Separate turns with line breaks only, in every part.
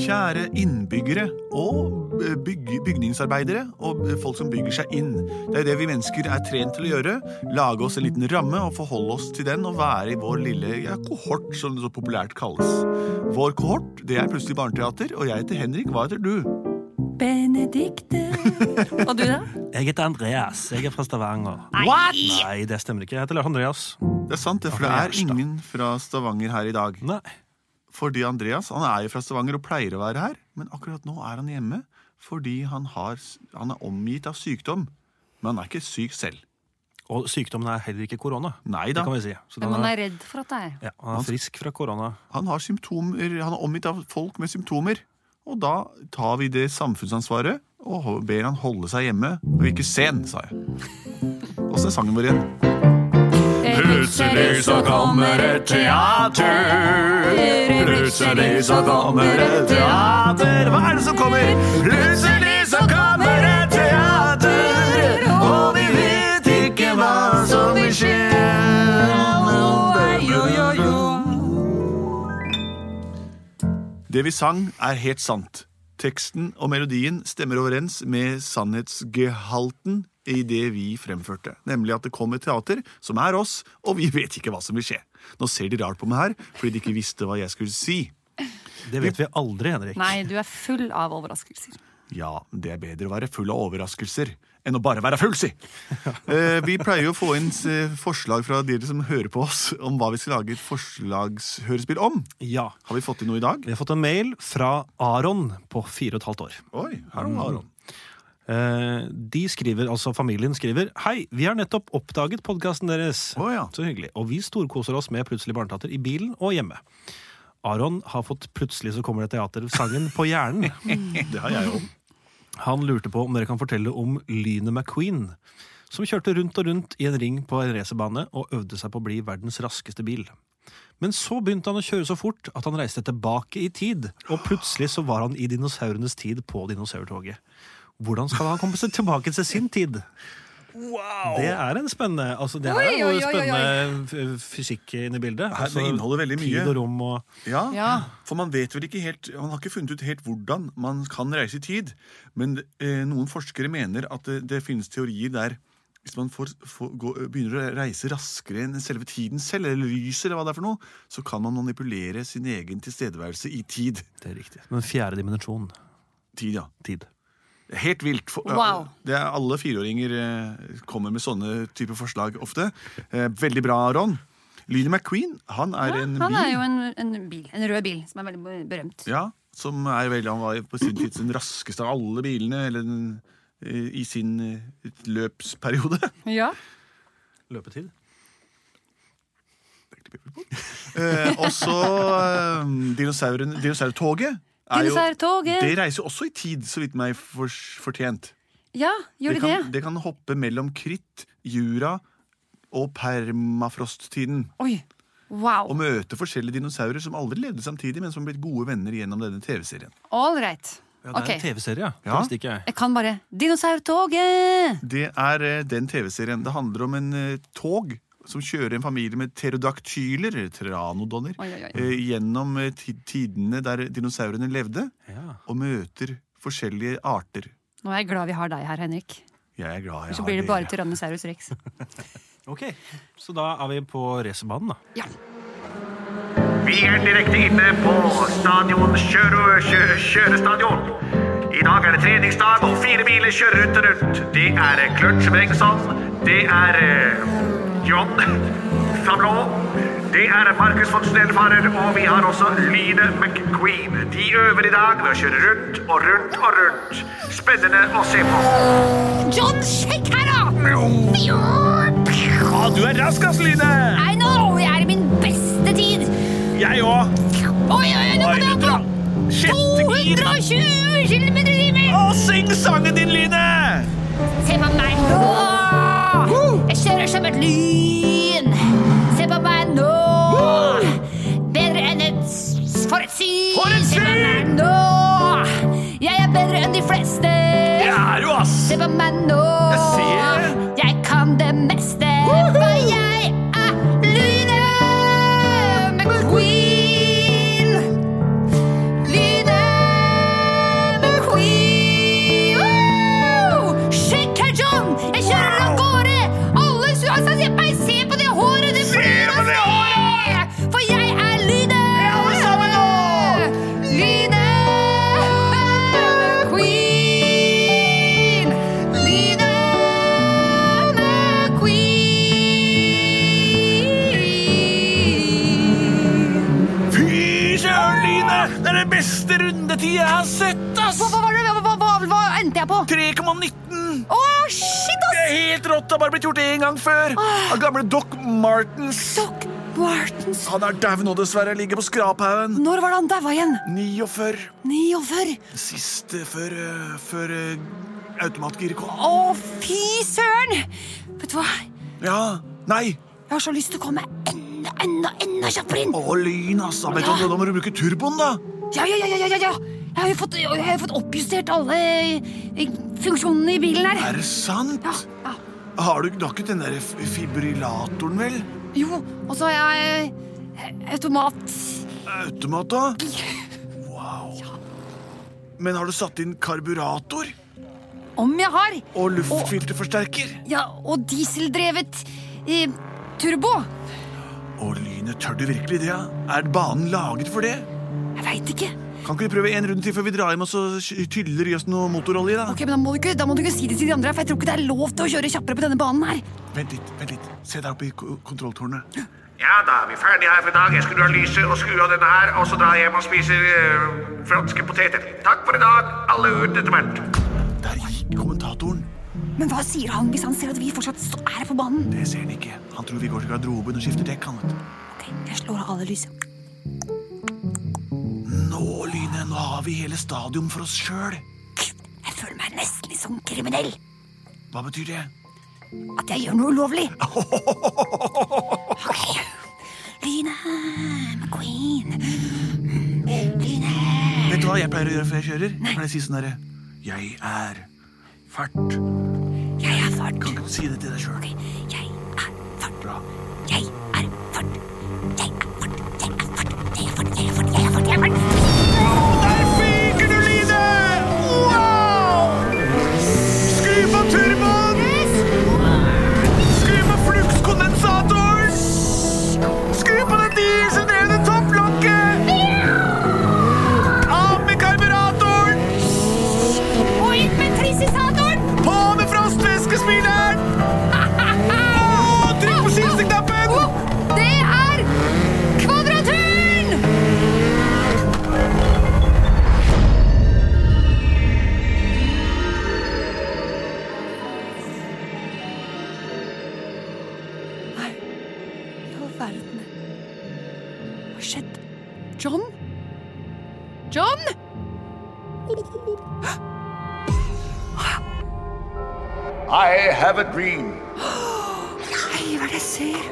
Kjære innbyggere og byg bygningsarbeidere og eh, folk som bygger seg inn. Det er jo det vi mennesker er trent til å gjøre. Lage oss en liten ramme og forholde oss til den og være i vår lille ja, kohort, som det så populært kalles. Vår kohort, det er plutselig barneteater, og jeg heter Henrik. Hva heter du?
Benedikte. Og du, da?
Jeg heter Andreas. Jeg er fra Stavanger.
What?
Nei, det stemmer ikke. Jeg heter Lars Andreas.
Det er sant, det, for det er ingen fra Stavanger her i dag.
Nei.
Fordi Andreas han er jo fra Stavanger og pleier å være her, men akkurat nå er han hjemme fordi han, har, han er omgitt av sykdom. Men han er ikke syk selv.
Og sykdommen er heller ikke korona.
Nei
Det
da.
kan vi si. Så
Hvem
den
man
er,
er redd for at det er.
ja, han er frisk fra korona.
Han har symptomer, han er omgitt av folk med symptomer. Og da tar vi det samfunnsansvaret og ho- ber han holde seg hjemme og ikke se han, sa jeg. Og så er sangen vår igjen.
Plutselig så kommer et teater. Plutselig så kommer et
teater. Hva er det som kommer? Plutselig så kommer et teater. Og vi vet ikke hva som vil skje. Det vi sang, er helt sant. Teksten og melodien stemmer overens med sannhetsgehalten i det vi fremførte. Nemlig at det kom et teater som er oss, og vi vet ikke hva som vil skje. Nå ser de rart på meg her fordi de ikke visste hva jeg skulle si.
Det vet vi aldri, Henrik.
Nei, du er full av overraskelser.
Ja, det er bedre å være full av overraskelser enn å bare være full, si! Eh, vi pleier jo å få inn eh, forslag fra dere som hører på oss, om hva vi skal lage et forslagshørespill om.
Ja.
Har vi fått inn noe i dag?
Vi har fått en mail fra Aron på fire og et halvt år.
Oi, her var Aron.
Eh, De skriver, altså Familien skriver Hei, vi har nettopp oppdaget podkasten deres.
Å, ja.
Så hyggelig. Og vi storkoser oss med Plutselig barneteater i bilen og hjemme. Aron har fått Plutselig så kommer det teater-sangen på hjernen.
Det har jeg òg.
Han lurte på om dere kan fortelle om Lynet McQueen, som kjørte rundt og rundt i en ring på en racerbane og øvde seg på å bli verdens raskeste bil. Men så begynte han å kjøre så fort at han reiste tilbake i tid, og plutselig så var han i dinosaurenes tid på dinosaurtoget. Hvordan skal han komme seg tilbake til sin tid? Det er en spennende altså Det her
Oi,
er jo
oi, oi, oi, oi.
spennende f- fysikk inne i bildet. Altså,
Her, det inneholder veldig mye.
Tid og rom og
Ja,
Ja.
For man vet vel ikke helt Man har ikke funnet ut helt hvordan man kan reise i tid. Men eh, noen forskere mener at det, det finnes teorier der hvis man får, får, gå, begynner å reise raskere enn selve tiden selv, eller lyset, eller hva det er for noe, så kan man manipulere sin egen tilstedeværelse i tid.
Det er riktig. Men fjerde dimensjon.
Tid, ja.
Tid.
Helt vilt. For,
Wow.
det er alle fireåringer eh, kommer med sånne type forslag ofte. Eh, veldig bra, Ron. Lynet McQueen, han er en
Han
bil.
er jo en, en bil. En rød bil, som er veldig berømt.
Ja, som er veldig, han var jo på sin tid den raskeste av alle bilene eller den, eh, i sin eh, løpsperiode.
Ja.
Løpetid.
Eh, og så eh, dinosauren- dinosaurtoget. er jo-
Dinosaurtoget.
Det reiser jo også i tid, så vidt meg for, fortjent.
Ja, gjør de det?
kan, det kan hoppe mellom kritt, jura og permafrosttiden.
Oi. Wow.
Og møte forskjellige dinosaurer som aldri levde samtidig, men som har blitt gode venner gjennom denne TV-serien.
All right.
Ja, det er
Ok.
en TV-serie, ja.
Ja.
Det visste ikke jeg.
Jeg kan bare Dinosaurtoget!
Det er eh, den TV-serien. Det handler om en eh, tog som kjører en familie med pterodaktyler, tranodonner,
Oi, oi, oi.
eh, gjennom eh, ti- tidene der dinosaurene levde,
Ja.
og møter forskjellige arter.
Nå er jeg glad vi har deg her, Henrik.
Jeg er glad jeg
Så
har
blir
dere.
det bare Tyrannosaurus rex.
Ok, så da er vi på racerbanen, da.
Ja.
Vi er direkte inne på stadion Kjørø, kjø, Kjørestadion. I dag er det treningsdag, og fire biler kjører rundt og rundt. Det er eh, Klørt Brengsson, det er eh, John Fablå, det er Markus von Snellfarer, og vi har også Lyne McQueen. De øver i dag ved å kjøre rundt og rundt og rundt. Spennende å se på.
John, sjekk her, da! Fjo!
Ja, du er raskest, Lyne!
I know, jeg er i min beste tid.
Jeg òg.
Oi, oi, oi, nå kommer jeg på! 220 km i timen!
Og syng sangen din, Lyne!
Se på meg nå! Jeg kjører som et lyn. Se på meg nå! Bedre enn et s- For et syn!
For et
Se på meg nå! Jeg er bedre enn de fleste.
Det er du, ass!
Se på meg nå.
Jeg ser det.
Jeg kan det meste, for jeg er Lyne McQueen. Lyne
Det er den beste rundetida jeg har sett, ass!
Hva, var det- hva, hva, hva, hva endte jeg på?
3,19!
Å, shit,
Det
ass!
er helt rått! Det har bare blitt gjort én gang før.
Ah.
Av gamle Doc Martens.
Doc Martens.
Han er dau nå, dessverre. Ligger på skraphaugen.
Når var det han daua igjen?
49.
49.
Siste før, eh, før eh, automatgir kom.
Å, fy søren! Vet du hva?
Ja. Nei.
Jeg har så lyst til å komme enda, enda, enda kjappere inn.
Å, lyn, ass. Da vet du, da må du bruke turboen, da.
Ja, ja, ja, ja, ja, ja. Jeg har jo fått, jeg har jo fått oppjustert alle eh, funksjonene i bilen her.
Er det sant?
Ja, ja.
Har du, du har ikke den der f- fibrillatoren, vel?
Jo, og så har jeg eh, automat.
Automat, da? Wow. Men har du satt inn karburator
Om jeg har.
og luftfilterforsterker?
Ja, og dieseldrevet eh, turbo.
Å, lynet, tør du virkelig det? ja? Er banen laget for det?
Jeg veit ikke.
Kan ikke vi prøve en runde til før vi drar hjem og så sk- tyller i oss noe motorolje? da?
Ok, men da må, du ikke, da må du ikke si det til de andre, her, for jeg tror ikke det er lov til å kjøre kjappere på denne banen her.
Vent litt, vent litt. Se der oppe i ko- kontrolltårnet.
Ja da, vi er ferdige her for i dag. Jeg skulle ha lyset og skru av denne her, og så dra hjem og spise eh, franske poteter. Takk for i dag, alle ut etter hvert.
Der gikk kommentatoren.
Men hva sier han hvis han ser at vi fortsatt st- er på banen?
Det ser han ikke. Han tror vi går til garderoben og skifter dekk. han vet du.
Ok, jeg slår av alle lysene.
Nå, Lyne, nå har vi hele stadion for oss sjøl.
Jeg føler meg nesten litt sånn kriminell.
Hva betyr det?
At jeg gjør noe ulovlig. Ok. Lyne McQueen. Lyne
Vet du hva jeg pleier å gjøre før jeg kjører? Jeg pleier å si sånn derre Jeg er fart.
Jeg er fart.
Kan ikke du si det til deg sjøl?
Ok, Jeg er fart.
Bra.
Jeg er fart. Jeg er fart. Jeg er fart. Jeg er fart. Jeg er fart. Jeg er fart. Jeg er fart.
Der fyker du, Line! Wow! Skru på turboen! Skru på flukskondensatoren! Skru på det dieseldrevne topplokket! Av med karburatoren!
Og ut med trissisatoren!
På med frostvæskespilleren! Og trykk på skifteknappen!
Det er Kvadraturen! Nei, i all verden. Hva har skjedd? John? John?
I have a dream.
Nei, hva er det jeg ser?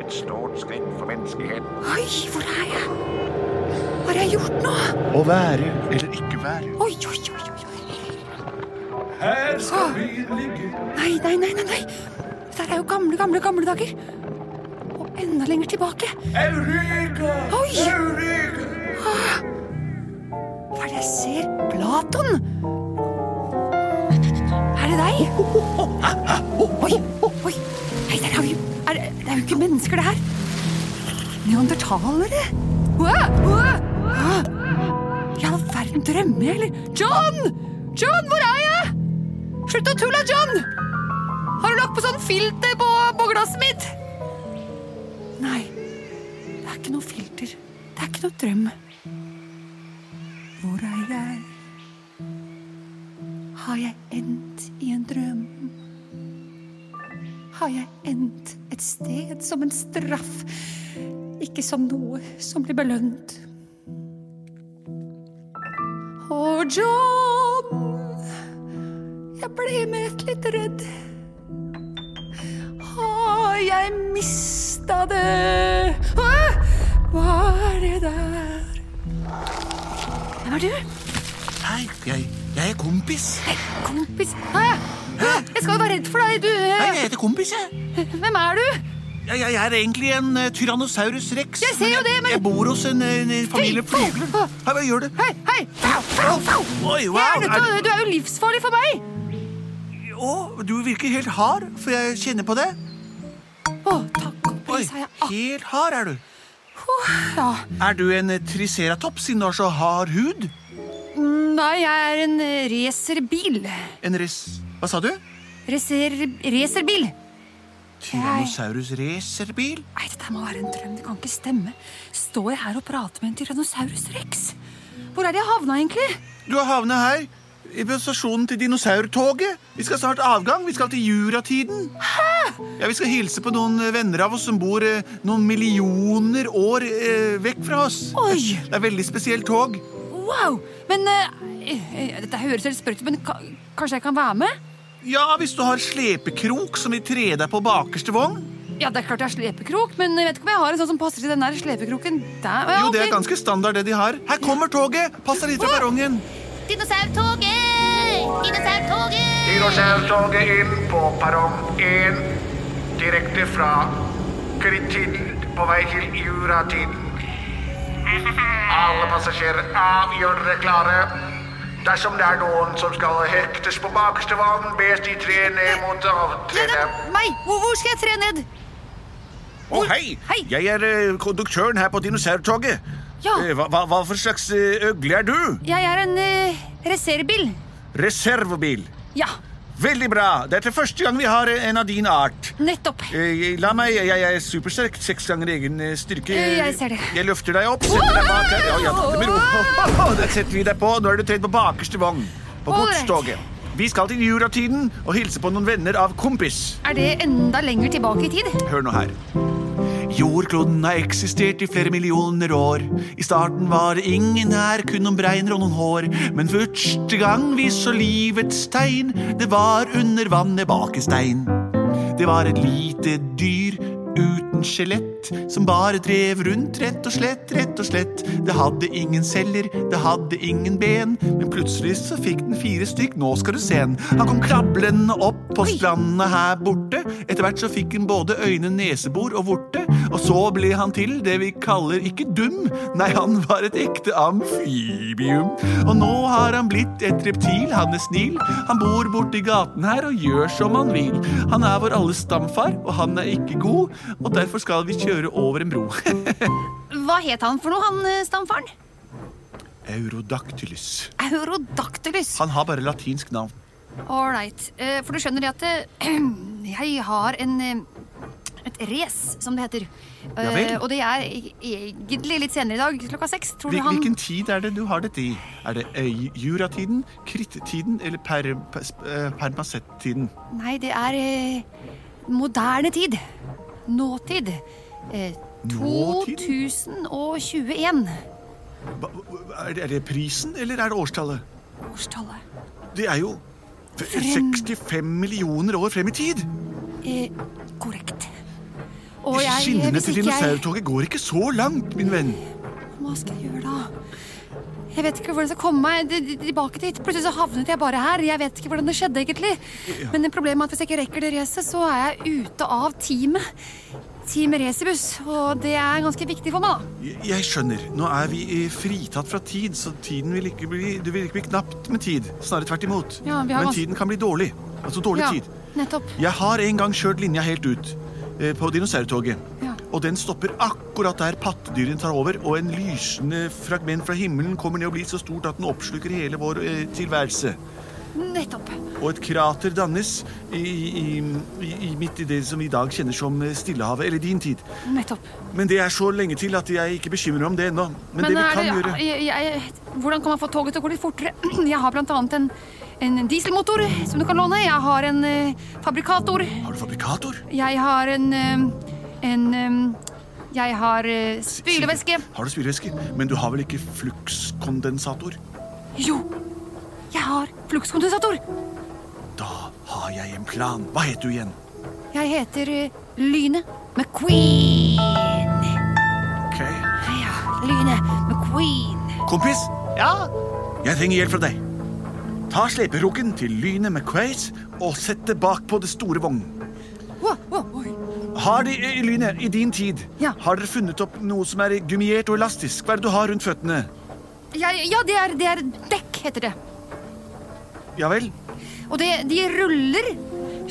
Et stort skritt for menneskeheten.
Oi, hvor er jeg? Hva har jeg gjort nå?
Å være eller ikke være.
Oi, oi, oi, oi, oi.
Her
skal
vi ligge.
Nei, nei, nei, nei, nei. Dette er jo gamle, gamle, gamle dager. Og enda lenger tilbake.
Eureka!
Oi!
Eureka!
Hva er det jeg ser? Platon! Er det deg? Oi, oi. Nei, det er jo, er, det- det er jo ikke mennesker, det her. Neandertalere. Hva? Hva? Hva? I all verden, drømmer jeg, eller? John! John, hvor er jeg? Slutt å tulle, John! Har du lagt på sånn filter på, på glasset mitt? Nei, det er ikke noe filter. Det er ikke noe drøm. Hvor er jeg? Har jeg endt i en drøm? Har jeg endt et sted som en straff? Ikke som noe som blir belønt. Å, John, jeg ble med et litt redd. Har jeg mista det? Hæ? Hva er det der? Hvem er du?
Hei, jeg, jeg er kompis.
Hei, kompis. Hæ? Hæ? Jeg skal jo være redd for deg,
Hei,
du.
jeg heter Kompis, jeg.
Hvem er du?
Jeg, jeg er egentlig en eh, Tyrannosaurus rex.
Jeg ser jo det, men-
Jeg bor hos en, eh, en familie
Fy,
flygler.
au.
Hei, hva gjør du?
Hei, hei! Fau, fau, fau!
Oi, wow!
Jeg er nødt til
er
å, du er jo livsfarlig for meg!
du- Å, du virker helt hard, for jeg kjenner på det.
Å, takk,
Oi,
kompis, sa jeg. Ah,
helt hard er du.
ja.
Er du en eh, triceratops siden du har så hard hud?
Nei, jeg er en eh, racerbil.
En res... Hva sa du?
Racer... Racerbil.
Tyrannosaurus racerbil?
Nei, dette må være en drøm. Det kan ikke stemme. Står jeg her og prater med en tyrannosaurus rex? Hvor er det jeg havna, egentlig?
Du har havnet her. I på stasjonen til dinosaurtoget. Vi skal snart avgang. Vi skal til juratiden. Ja, vi skal hilse på noen eh, venner av oss som bor eh, noen millioner år eh, vekk fra oss.
Oi!
Det er veldig spesielt tog.
Wow! Men eh, eh, Dette høres helt sprøtt ut, men ka kanskje jeg kan være med?
Ja, hvis du har slepekrok som vil tre deg på bakerste vogn.
Ja, det er klart jeg har slepekrok, men jeg vet ikke om jeg har en sånn som passer til den der slepekroken der. Ja,
Jo, det
ok.
er ganske standard det de har. Her kommer toget! Pass deg litt fra perrongen.
Dinosaurtoget! Dinosaurtoget!
Dinosaurtoget inn på perrong 1. Direkte fra Kritiden på vei til Juratiden. Alle passasjerer av, gjør dere klare. Dersom det er noen som skal hektes på bakerste vogn, bes de tre ned mot avtredet.
Meg! Hvor, hvor skal jeg tre ned?
Å, hei.
Hei.
Jeg er eh, konduktøren her på dinosaurtoget.
Ja.
Eh, Hva, hva, hva for slags eh, øgle er du?
Jeg er en eh, reservebil.
Reservebil.
Ja,
Veldig bra. Dette er første gang vi har eh, en av din art.
nettopp.
Eh, La meg, jeg jeg er supersterk. Seks ganger egen eh, styrke.
Eh, jeg ser det.
Jeg løfter deg opp, setter deg bak her. Ja, ja, ta det med ro. Der setter vi deg på. Nå er du tredd på bakerste vogn. På
Ålreit.
godstoget. Vi skal til juratiden og hilse på noen venner av kompis.
Er det enda lenger tilbake i tid?
Hør nå her. Jordkloden har eksistert i flere millioner år. I starten var det ingen her, kun noen bregner og noen hår. Men første gang vi så livets tegn, det var under vannet bak en stein. Det var et lite dyr uten skjelett som bare drev rundt, rett og slett, rett og slett. Det hadde ingen celler, det hadde ingen ben, men plutselig så fikk den fire stykk, nå skal du se den. Han kom krablende opp på strandene her borte. Etter hvert så fikk han både øyne, nesebor og vorte, og så ble han til det vi kaller ikke dum, nei, han var et ekte amfibium. Og nå har han blitt et reptil, han er snill, han bor borti gaten her og gjør som han vil. Han er vår alles stamfar, og han er ikke god, og derfor skal vi kjøre over en bro.
Hva het han for noe, han eh, stamfaren?
Eurodactylus.
Eurodactylus.
Han har bare latinsk navn.
Ålreit. For du skjønner det at eh, jeg har en eh, et race, som det heter. Eh,
Ja vel.
Og det er e- egentlig litt senere i dag, klokka seks. Tror du
Hvil-
han
Hvilken tid er det du har dette i? Er det eh, juratiden, krittiden eller per, per, eh, permasettiden?
Nei, det er eh, moderne tid. Nåtid. Eh,
Nåtid?
2021.
Hva- Er det, er det prisen, eller er det årstallet?
Årstallet.
Det er jo f- 65 millioner år frem i tid!
Eh, korrekt. Og
De
jeg,
Skinnene
hvis
til
ikke jeg
dinosaurtoget går ikke så langt, min venn.
Hva skal jeg gjøre da? Jeg vet ikke hvordan jeg skal komme meg d- d- tilbake dit. Plutselig så havnet jeg bare her. Jeg vet ikke hvordan det skjedde egentlig. Men problemet er at hvis jeg ikke rekker det racet, så er jeg ute av teamet. Team Racerbuss. Og det er ganske viktig for meg, da.
Jeg- Jeg skjønner. Nå er vi eh, fritatt fra tid, så tiden vil ikke bli, det vil ikke bli knapt med tid. Snarere tvert imot.
Ja, vi
Men
har gans-
tiden kan bli dårlig. Altså dårlig tid.
nettopp.
Jeg har en gang kjørt linja helt ut eh, på dinosaurtoget.
Ja.
Og den stopper akkurat der pattedyrene tar over, og en lysende fragment fra himmelen kommer ned og blir så stort at den oppsluker hele vår eh, tilværelse.
Nettopp.
Og et krater dannes i, i, i, i midt i det som vi i dag kjenner som eh, Stillehavet, eller din tid.
Nettopp.
Men det er så lenge til at jeg ikke bekymrer meg om det ennå. Men, det vi
Men er
kan
det-
gjøre
jeg, jeg, hvordan kan man få toget til å gå litt fortere? Jeg har blant annet en, en dieselmotor som du kan låne. Jeg har en eh, fabrikator.
Har du fabrikator?
Jeg har en eh, En eh, Jeg har eh, spylevæske.
Har du spylevæske? Men du har vel ikke flukskondensator?
Jo, jeg har flukskondensator.
Da har jeg en plan. Hva heter du igjen?
Jeg heter eh, Lyne McQueen.
Ok.
Ja, Lyne McQueen.
Kompis? Ja? Jeg trenger hjelp fra deg. Ta sleperoken til lynet med Quays og sett det bak på det store vognen.
Wow, wow, oi.
Har de i lynet i din tid?
Ja.
Har dere funnet opp noe som er gummiert og elastisk? Hva er det du har rundt føttene?
Jeg, ja, det er, det er dekk, heter det.
Ja vel?
Og det, de ruller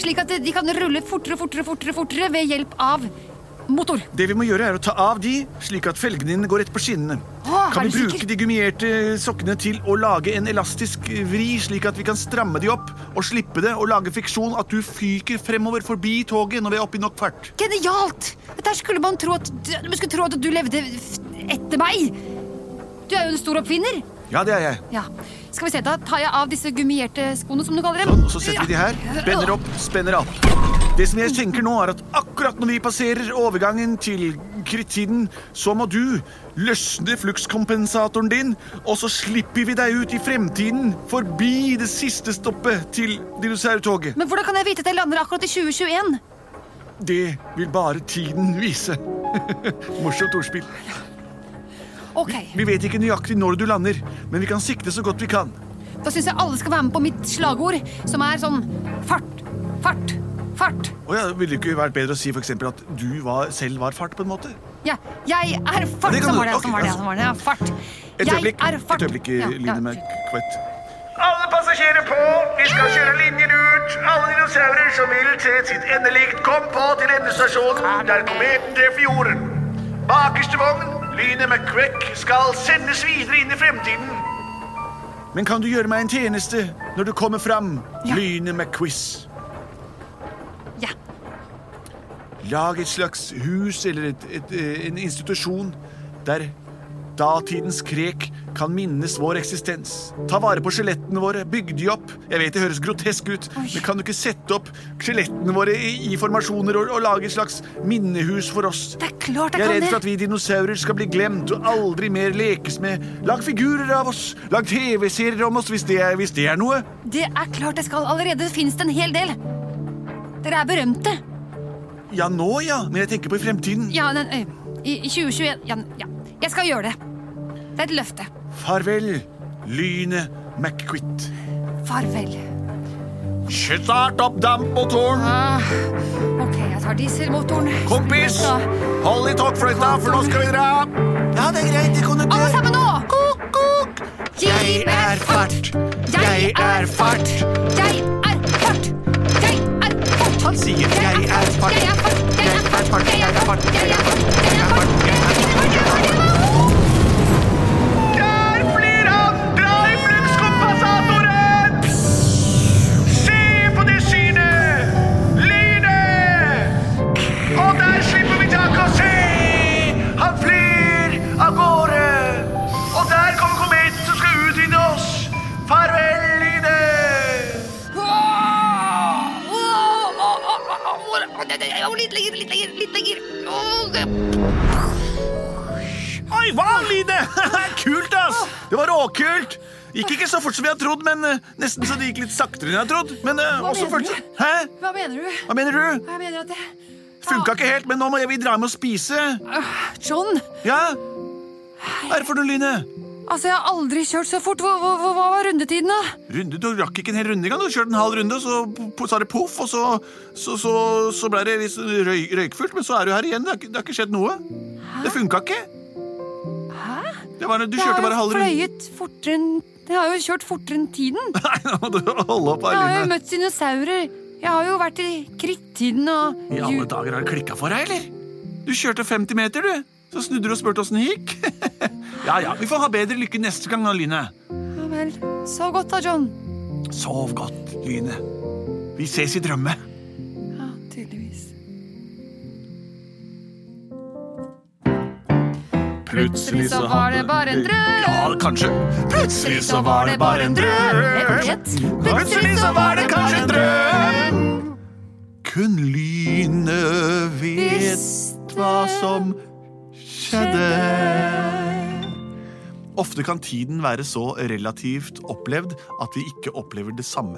slik at de kan rulle fortere, fortere, fortere, fortere ved hjelp av motor.
Det vi må gjøre, er å ta av de, slik at felgene dine går rett på skinnene.
Å,
Kan
er
vi
du
bruke
sikker?
de gummierte sokkene til å lage en elastisk vri, slik at vi kan stramme de opp og slippe det og lage fiksjon at du fyker fremover forbi toget når vi er oppe i nok fart?
Genialt! Der skulle man tro at, du- man skulle tro at du levde f- etter meg. Du er jo en stor oppfinner.
Ja, det er jeg.
Ja. Skal vi se, da tar jeg av disse gummierte skoene, som du kaller dem.
Sånn, og så setter vi de her. Bender opp, spenner av. Det som jeg tenker nå, er at akkurat når vi passerer overgangen til krittiden, så må du løsne flukskompensatoren din, og så slipper vi deg ut i fremtiden forbi det siste stoppet til dinosaurtoget.
Men hvordan kan jeg vite at jeg lander akkurat i 2021?
Det vil bare tiden vise. Morsomt ordspill.
Ok,
Vi vet ikke nøyaktig når du lander, men vi kan sikte så godt vi kan.
Da syns jeg alle skal være med på mitt slagord, som er sånn fart, fart, fart.
Og ja, Ville det ikke vært bedre å si for eksempel at du var, selv var fart? på en måte?
Ja, jeg er fart,
Ja, det kan
som
du-
var det,
ok,
som var det,
altså.
som var det. Ja, fart.
Et
Jeg
øyeblikk,
er fart.
et øyeblikk
Ja, ja.
Line McQuett.
Alle passasjerer på! Vi skal kjøre linjen ut! Alle dinosaurer som vil se sitt endelikt, kom på til endestasjonen der kometen treffer jorden. Bakerste vogn, lynet med kvekk, skal sendes videre inn i fremtiden.
Men kan du gjøre meg en tjeneste når du kommer fram,
Ja.
Lynet McQuiz?
Ja.
Lag et slags hus eller et, et, eh, en institusjon der datidens krek kan minnes vår eksistens. Ta vare på skjelettene våre, bygg de opp. Jeg vet det høres grotesk ut, men kan du ikke sette opp skjelettene våre i, i formasjoner og, og lage et slags minnehus for oss?
Det er klart
Jeg
jeg
er redd
kan
for
det.
at vi dinosaurer skal bli glemt og aldri mer lekes med. Lag figurer av oss, lag TV-serier om oss hvis det er, hvis det er noe.
Det er klart jeg skal. Allerede finnes det en hel del. Dere er berømte.
Ja, nå ja, men jeg tenker på i fremtiden.
Ja, den, øy, i, i 2021. Ja, ja, jeg skal gjøre det. Det er et løfte.
Farvel, lynet McQuitt.
Farvel.
Start opp dampmotoren,
Ah, ok, jeg tar dieselmotoren.
kompis!
Ja.
Hold i togfløyta, for nå skal vi dra! Ja, det er greit, det kan du
Alle sammen nå! Kok, kok! Gi
Jeg er
meg fart!
fart. Jeg er fart.
Jeg er fart! Jeg er fart!
Han sier,
Jeg er fart! Jeg er fart! Jeg er fart! Jeg er fart! Jeg er fart! Jeg er fart! Jeg er fart! Jeg er fart! Jeg er fart!
Der blir han! Dra i fluktskompassatoren! Se på det synet! Lynet! Og der slipper vi taket og se! Han flyr av gårde! Og der kommer kometen som skal utvinne oss! Farvel, lynet!
Åh, åh, åh, åh, åh, hvor- åh, det- det- åh, Litt lenger, litt lenger, litt lenger. Åh, det-
Oi, hva, lynet? Kult, ass! Det var råkult! Gikk ikke så fort som jeg hadde trodd, men eh, nesten så det gikk litt saktere enn jeg hadde trodd. Men eh,
Hva
også
mener
fort.
du?
Hæ?
Hva mener du?
Hva mener du?
Jeg mener at det...
Funka ikke helt, men nå må jeg vi dra med å spise.
John,
Ja? Hva er det for noe, Lynet?
altså jeg har aldri kjørt så fort. Hva, hva, hva var rundetiden da?
Runde, Du rakk ikke en hel runde engang. Du kjørte en halv runde, og så, po- sa det poff, og så, så, så, så ble det litt sånn røy, røykfullt. Men så er du her igjen. Det har, ikke- det har ikke skjedd noe. Det funka ikke.
Hæ?
Det var, du
Jeg har
kjørte bare
jo
halv runde.
fløyet fortere enn Jeg har jo kjørt fortere enn tiden.
Nei, nå må du holde opp,
Jeg har jo
Arline.
møtt dinosaurer. Jeg har jo vært i krittiden og
I alle dager har det klikka for deg, eller? Du kjørte 50 meter, du. Så snudde du og spurte åssen det gikk. ja ja, vi får ha bedre lykke neste gang, da, Lyne.
Ja vel. Så godt da, John.
Sov godt, Lyne. Vi ses i drømme.
Ja, tydeligvis.
Plutselig
så var det bare en drøm.
Ja, kanskje. Plutselig så var det bare en drøm. Plutselig så var det kanskje en drøm. Kun lynet vet hva som skjedde. Ofte kan tiden være så relativt opplevd at vi ikke opplever det samme.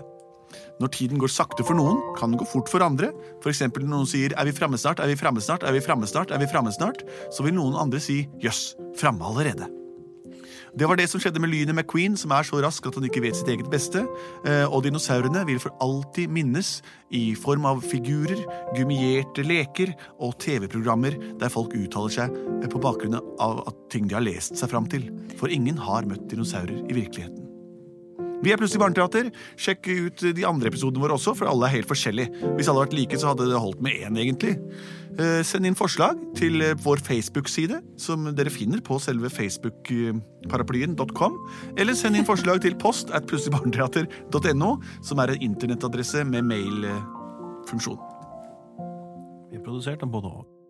Når tiden går sakte for noen, kan den gå fort for andre. For eksempel når noen sier 'er vi framme snart', 'er vi framme snart', 'er vi framme snart', er vi fremme snart? så vil noen andre si 'jøss, framme allerede'. Det var det som skjedde med lynet McQueen, som er så rask at han ikke vet sitt eget beste. Eh, Og dinosaurene vil for alltid minnes i form av figurer, gummierte leker og TV-programmer der folk uttaler seg eh, på bakgrunn av at ting de har lest seg fram til. For ingen har møtt dinosaurer i virkeligheten. Vi er Plutselig barneteater. Sjekk ut de andre episodene våre også, for alle er helt forskjellige. Hvis alle hadde vært like, så hadde det holdt med én, egentlig. Eh, Send inn forslag til eh, vår Facebook-side, som dere finner på selve facebookparaplyen.com. Eller send inn forslag til post at plutseligbarneteater.no, som er en eh, internettadresse med mailfunksjon.
Vi er produsert av både og.